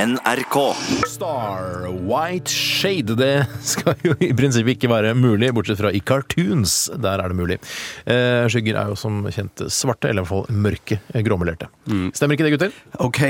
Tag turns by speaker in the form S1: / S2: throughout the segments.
S1: NRK.
S2: Star White Shade. Det skal jo i prinsippet ikke være mulig, bortsett fra i cartoons. Der er det mulig. Eh, skygger er jo som kjent svarte, eller i hvert fall mørke, eh, gråmelerte. Stemmer ikke det, gutter?
S3: OK.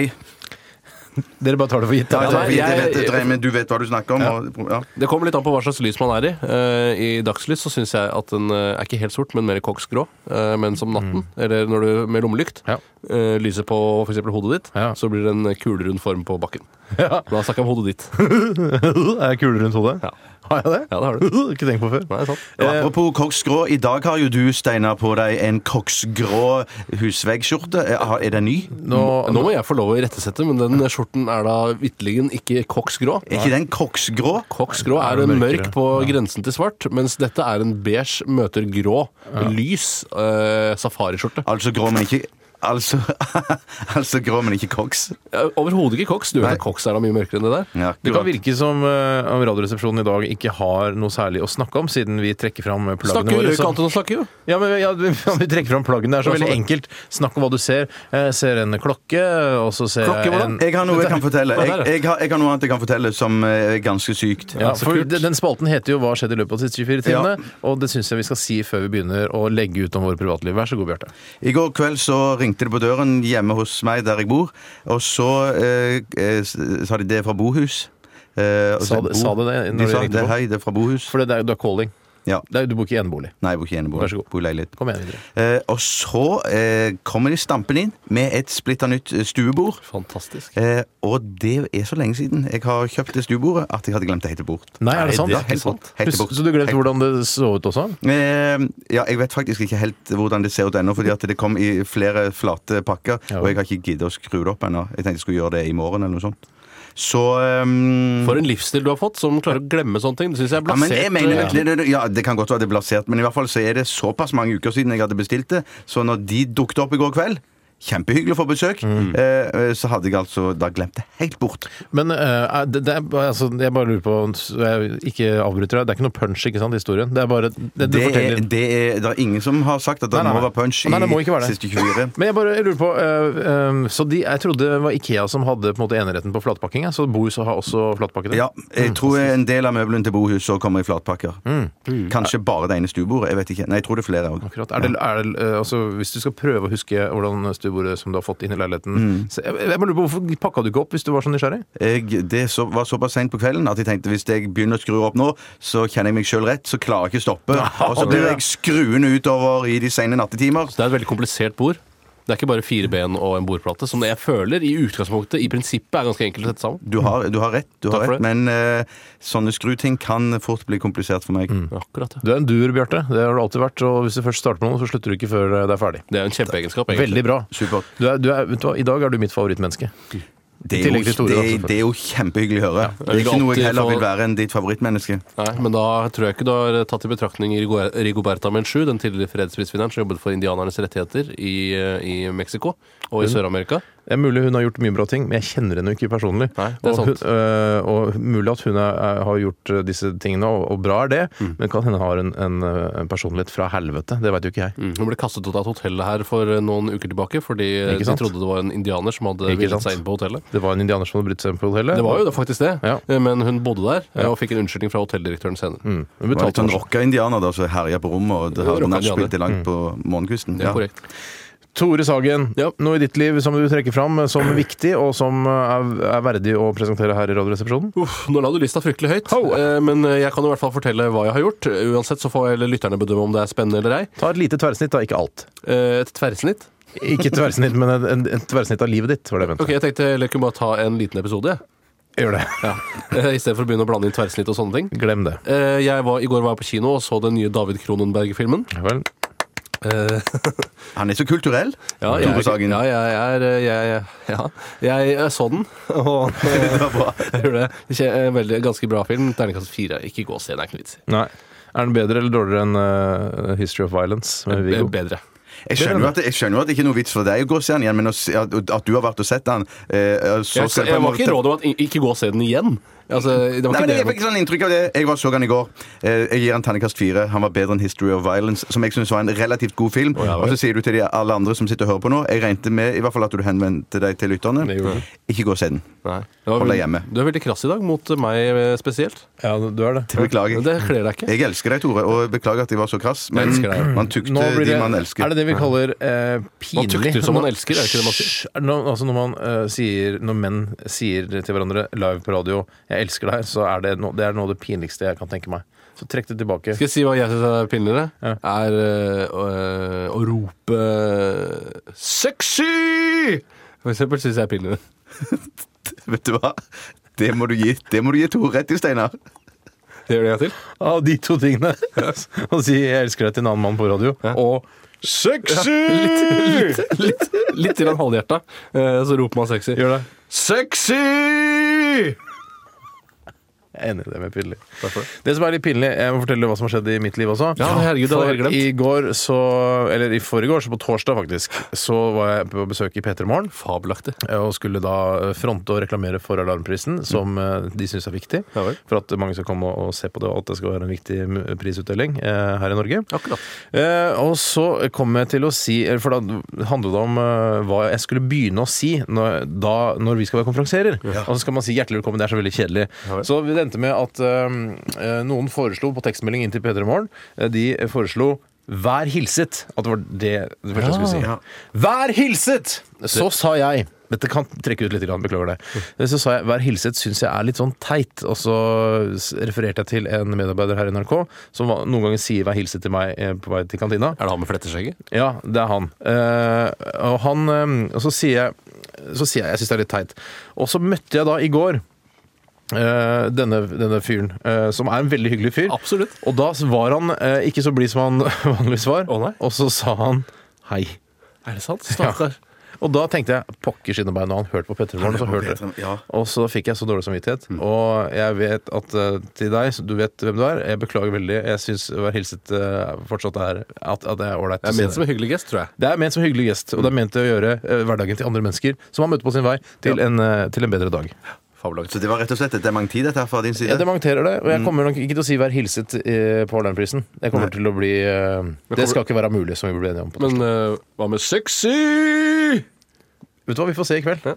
S2: Dere bare tar det for gitt.
S3: Ja,
S2: Ja,
S3: jeg,
S4: jeg-
S3: vet, jeg, men du vet hva du snakker om? Og, ja.
S4: Det kommer litt an på hva slags lys man er i. Eh, I dagslys så syns jeg at den eh, er ikke helt sort, men mer koksgrå. Eh, men som natten, eller når du med lommelykt
S2: Mm. Ja.
S4: eh, lyser på f.eks. hodet ditt,
S2: Ja.
S4: så blir det en kulerund form på bakken.
S2: Ja.
S4: Da snakker jeg om hodet ditt.
S2: Er jeg kule rundt hodet?
S4: Ja.
S2: Har jeg det?
S4: Ja, det har du.
S2: Ikke tenkt på før.
S4: Nei, sant.
S3: Og
S2: Eh,
S3: apropos koksgrå, i dag har jo du, Steinar, på deg en koksgrå husveggskjorte. Er er den ny?
S2: Nå,
S4: Nå må jeg få lov å irettesette, men den skjorten er da vitterligen ikke koksgrå.
S3: Er ikke den koksgrå?
S4: Koksgrå er
S2: Er
S4: en
S2: mørkere.
S4: mørk på grensen til svart, mens dette er en beige møter grå, lys eh, safariskjorte.
S3: Altså grå, men ikke Altså, altså grå, men ikke koks.
S4: Eh, Overhodet ikke koks. Du vet at koks er da mye mørkere enn det der.
S3: Ja,
S2: Det kan
S3: akkurat.
S2: virke som eh, om Radioresepsjonen i dag ikke har noe særlig å snakke om, siden vi trekker fram plaggene
S4: Snakker
S2: våre.
S4: jo ikke
S2: som-
S4: annet enn å snakke, jo.
S2: Ja, men ja, vi vi trekker fram plaggene. Det er så
S4: Ja, sånn.
S2: veldig enkelt. Snakk om hva du ser. Jeg ser en klokke, og så ser
S4: Klokke,
S2: jeg
S4: hvordan?
S2: en
S3: Jeg har noe jeg kan fortelle.
S4: Hva er
S3: Jeg,
S4: det?
S3: jeg, har, jeg har noe annet jeg kan fortelle som eh, er ganske sykt.
S2: ja,
S4: så
S2: for
S4: kult.
S2: den den spalten heter jo 'Hva skjedde i løpet av de siste 24 timene', og det syns jeg vi skal si før vi begynner å legge ut om våre privatliv. Vær så god, Bjarte.
S3: I går kveld så ringte det på døren hjemme hos meg der jeg bor, og så eh, eh, sa de det er fra bohus. Eh, og
S2: Sa
S3: så-
S2: de- sa de det når
S3: de
S2: de
S3: sa
S2: ringte
S3: det,
S2: på?
S3: hei, det er fra bohus.
S2: For det er, du er calling.
S3: Ja.
S2: Det er, du bor ikke i enebolig.
S3: Nei, jeg bor ikke i enebolig.
S2: Vær så god.
S3: Bor i leilighet.
S2: Kom igjen videre.
S3: Eh, og så eh, kommer de stampende inn med et splitter nytt eh, stuebord.
S4: Fantastisk.
S3: Eh, og det er så lenge siden jeg har kjøpt det stuebordet at jeg hadde glemt å hete bort.
S2: Nei, er det
S4: Nei,
S2: sant?
S4: det er
S3: helt bort. Helt
S2: Hus-
S3: bort.
S2: Så du glemte
S3: Helt-
S2: hvordan det så ut også?
S3: Eh, ja, jeg vet faktisk ikke helt hvordan det ser ut ennå, fordi at det kom i flere flate pakker.
S2: Ja.
S3: Og jeg har ikke giddet å skru det opp ennå. Jeg tenkte jeg skulle gjøre det i morgen eller noe sånt. Så ehm,
S4: For en livsstil du har fått, som klarer å glemme sånne ting. Det syns jeg er
S3: ja, men
S4: blasert.
S3: jeg mener,
S4: eh,
S3: det, det, det- ja, det kan godt være det er blasert, men i hvert fall så er det såpass mange uker siden jeg hadde bestilt det, så når de dukket opp i går kveld Kjempehyggelig å få besøk.
S2: Mm.
S3: eh, eh, Så hadde jeg altså da glemt det helt bort.
S2: Men eh, er det, det er, bare- altså, jeg bare lurer på så jeg Ikke avbryter deg. Det er ikke noe punch ikke sant, i historien. Det er bare det du
S3: Det er,
S2: forteller.
S3: det er, det er ingen som har sagt at det
S2: Nei, nei,
S3: må
S2: nei.
S3: være punch i
S2: Nei, det må ikke være det.
S3: siste 24.
S2: Men jeg bare jeg lurer på eh, eh, Så de, jeg trodde det var Ikea som hadde på en måte eneretten på flatpakking. ja, Så Bohus har også flatpakke? der.
S3: Ja, jeg tror en del av møblene til bohuset også kommer i flatpakker. Kanskje bare det ene stuebordet. Jeg vet ikke. Nei, jeg tror det er flere òg.
S2: Mm. Akkurat. Er det, er det, eh, altså, hvis du skal prøve å huske hvordan stuebordet som du har fått inn i leiligheten så, jeg, jeg bare lurer på Hvorfor pakka du ikke opp hvis du var så nysgjerrig?
S3: Jeg, det så, var såpass seint på kvelden at jeg tenkte hvis jeg begynner å skru opp nå, så kjenner jeg meg sjøl rett, så klarer jeg ikke å stoppe. Og så blir jeg skruende utover i de sene nattetimer.
S4: Så det er et veldig komplisert bord. Det er ikke bare fire ben og en bordplate, som jeg føler i utgangspunktet i prinsippet er ganske enkelt å sette sammen.
S3: Du har, du har rett, du har
S4: Takk for
S3: rett
S4: det.
S3: men eh, sånne skruting kan fort bli komplisert for meg.
S2: Mm.
S4: Akkurat, ja.
S2: Du er en duer, Bjarte. Det har du alltid vært. Og hvis du først starter med noe, så slutter du ikke før eh, det er ferdig.
S4: Det er jo en kjempeegenskap, egentlig.
S2: Veldig bra.
S3: Supert.
S2: Du er, du er, vet du hva, I dag er du mitt favorittmenneske.
S3: Det
S2: I
S3: er,
S2: tillegg til
S3: jo,
S2: Tore,
S3: det,
S2: da, selvfølgelig.
S3: det er jo kjempehyggelig å høre. Det er
S4: Jeg
S3: ikke
S4: vil
S3: noe jeg
S4: alltid
S3: heller
S4: få-
S3: vil være enn ditt favorittmenneske.
S4: Nei, men da tror jeg ikke du har eh, tatt i betraktning Rigo- Rigoberta Menchu, den tidligere fredsprisvinneren som jobbet for indianernes rettigheter i, eh, i Mexico og i Sør-Amerika.
S2: Det er mulig hun har gjort mye bra ting, men jeg kjenner henne jo ikke personlig.
S4: Nei, det er
S2: og,
S4: sant.
S2: Hun, øh, og mulig at hun er, er, har gjort øh, disse tingene, og, og bra er det,
S3: Mm.
S2: men kan hende har en, en, øh, en personlighet fra helvete. Det veit jo ikke jeg.
S4: Mm. Hun ble kastet ut av et hotell her for eh, noen uker tilbake fordi eh,
S2: Ikke
S4: de
S2: sant?
S4: trodde det var en indianer som hadde
S2: Ikke
S4: villet
S2: sant?
S4: seg inn på hotellet.
S2: Det var en indianer som hadde brutt seg inn på hotellet.
S4: Det var jo da faktisk det,
S2: Ja.
S4: eh, men hun bodde der eh, og fikk en unnskyldning fra hotelldirektøren senere.
S2: Mm. Hun
S3: Det var litt
S2: betalte
S3: sånn
S2: for
S3: rocka indianer da, som herja på rommet og det
S4: Rocka
S3: hadde
S4: indianer.
S3: nachspiel til
S2: Mm.
S3: langt på morgenkvisten.
S4: Det er
S3: Ja.
S4: korrekt.
S2: seg. Tore Sagen,
S4: Ja.
S2: noe i ditt liv som du trekker fram eh, som viktig, og som eh, er, er verdig å presentere her i Radioresepsjonen?
S4: Uff, nå la du lista fryktelig høyt,
S2: Ho!
S4: eh, men jeg kan i hvert fall fortelle hva jeg har gjort. Eh, Uansett så får jeg lytterne bedømme om det er spennende eller ei.
S2: Ta et lite tverrsnitt, da. Ikke alt.
S4: Eh, Et tverrsnitt.
S2: Ikke tverrsnitt, men en- en- et tverrsnitt av livet ditt, var det jeg mente.
S4: Ok, jeg tenkte jeg kunne bare ta en liten episode, jeg.
S2: Gjør det.
S4: Ja. Eh, I stedet for å begynne å blande inn tverrsnitt og sånne ting.
S2: Glem det.
S4: Eh, Jeg var, I går var jeg på kino og så den nye David Kronenberg-filmen.
S2: Ja vel.
S4: Eh,
S3: Han er så kulturell.
S4: Ja, jeg,
S3: Tore Sagen.
S4: ja, jeg, er- jeg, ja. jeg, jeg så den, og
S3: Det var bra.
S4: jeg gjorde det. Ikke- eh, Veldig, ganske bra film. Terningkast fire. Ikke gå og se den, det er ikke noe vits. i.
S2: Nei. Er den bedre eller dårligere enn eh, History of Violence? med
S4: Eh,
S2: Viggo?
S4: Bedre.
S3: Jeg skjønner, jo at, jeg skjønner jo at det ikke er noe vits for deg å gå og se han igjen, men å se- at, at du har vært og sett han eh, så
S4: Jeg,
S3: skal
S4: jeg
S3: jeg på en
S4: var ikke
S3: måte-
S4: råd om at i- ikke gå og se den igjen, Altså, det var
S3: Nei,
S4: ikke
S3: men
S4: det.
S3: Jeg
S4: jeg
S3: fikk sånn inntrykk av det. Jeg var så han i går. Eh, Jeg gir han terningkast fire. Han var bedre enn History of Violence, som jeg syns var en relativt god film.
S2: ja, vel.
S3: Og så sier du til de alle andre som sitter og hører på nå Jeg regnet med i hvert fall at du henvendte deg til lytterne.
S2: Det gjorde jeg.
S3: Ikke gå og se den.
S4: Nei, det var
S3: Hold deg
S4: veldig-
S3: hjemme.
S4: Du er veldig krass i dag mot meg eh, spesielt.
S2: Ja, du er det.
S3: Beklager.
S4: Det kler deg ikke.
S3: Jeg elsker deg, Tore, og beklager at jeg var så krass, men
S4: elsker deg.
S3: man tukter
S2: Nå blir
S3: de
S2: det,
S3: man
S2: er
S3: elsker.
S2: det det vi kaller eh, pinlig?
S4: tukter som man
S2: Nå-
S4: elsker, er det ikke det man sier?
S2: Hysj! Nå- altså når, man, eh, sier, når menn sier til hverandre live på radio 'jeg elsker deg', så er det, no, det er noe av det pinligste jeg kan tenke meg. Så trekk det tilbake.
S4: Skal jeg si hva jeg syns er pinligere?
S2: Ja.
S4: Er eh, å, eh, å rope 'sexy'! For eksempel syns jeg er pinligere.
S3: Vet du hva? Det må du gi, det må du gi Tore rett i, Steinar.
S4: Det gjør det en gang til.
S2: Av de to tingene. Å si 'jeg elsker deg' til en annen mann på radio, og 'sexy'!
S4: Litt, litt til en halvhjerta, eh, så roper man 'sexy'.
S2: Gjør det.
S4: 'Sexy'!
S2: Jeg er enig i det med pinlig.
S4: Takk for det.
S2: Det som er litt pinlig, jeg må fortelle hva som har skjedd i mitt liv også.
S4: Ja, men herregud, det hadde jeg helt
S2: For
S4: glemt.
S2: I går så, eller i forgår, så på torsdag faktisk, så var jeg på besøk i P3 Morgen.
S4: Fabelaktig.
S2: eh, Og skulle da fronte og reklamere for Alarmprisen, som eh, de syns er viktig.
S4: Mm. Ja vel.
S2: For at mange skal komme og se på det, og at det skal være en viktig mm, prisutdeling eh, her i Norge.
S4: Akkurat.
S2: Eh, og så kom jeg til å si eller For da handlet det om eh, hva jeg skulle begynne å si når, da, når vi skal være konferanserer. Og så skal man si 'hjertelig velkommen', det er så veldig kjedelig.
S4: vel.
S2: så vi endte med at eh, eh, noen foreslo på tekstmelding inn til P3 Morgen eh, De foreslo 'vær hilset'. At det var det, det første jeg skulle
S4: Ah.
S2: si.
S3: Ja.
S2: Vær hilset! Så sa jeg dette kan trekke ut litt, grann, beklager det. Så sa jeg 'Vær hilset' syns jeg er litt sånn teit. Og så s- refererte jeg til en medarbeider her i NRK som var- noen ganger sier 'vær hilset' til meg eh, på vei til kantina.
S4: Er det han med fletteskjegget?
S2: Ja, det er han. Eh, og han eh, Og så sier jeg Så sier jeg jeg syns det er litt teit. Og så møtte jeg da i går eh, denne, denne fyren, eh, som er en veldig hyggelig fyr.
S4: Absolutt.
S2: Og da var han eh, ikke så blid som han vanligvis var,
S4: Å nei.
S2: og så sa han hei.
S4: Er det sant? Stakkar.
S2: Og da tenkte jeg pokker skinnebein, og han hørte på Petter Morgen. Og, så hørte det.
S3: Ja.
S2: og så fikk jeg så dårlig samvittighet.
S4: Mm.
S2: Og jeg vet at eh, til deg, så du vet hvem du er, jeg beklager veldig. Jeg syns Vær hilset eh, fortsatt er at, at det er ålreit. å
S4: Det er
S2: si
S4: ment som en hyggelig gest, tror jeg.
S2: Det er ment som en hyggelig gest, og det er ment til å gjøre eh, hverdagen til andre mennesker som man møter på sin vei, til, en, eh, til en bedre dag.
S3: Så
S4: Fabelaktig.
S3: det var rett og slett et dementi, dette her fra din side?
S2: Jeg dementerer det,
S4: Mm.
S2: og jeg kommer nok ikke til å si 'vær hilset' eh, på Arendalsprisen. Jeg kommer til å bli eh, Det
S4: kommer-
S2: skal ikke være mulig, som vi ble enige om. på
S4: Men eh, hva med 'sexy'?
S2: Vet du hva, vi får se i kveld.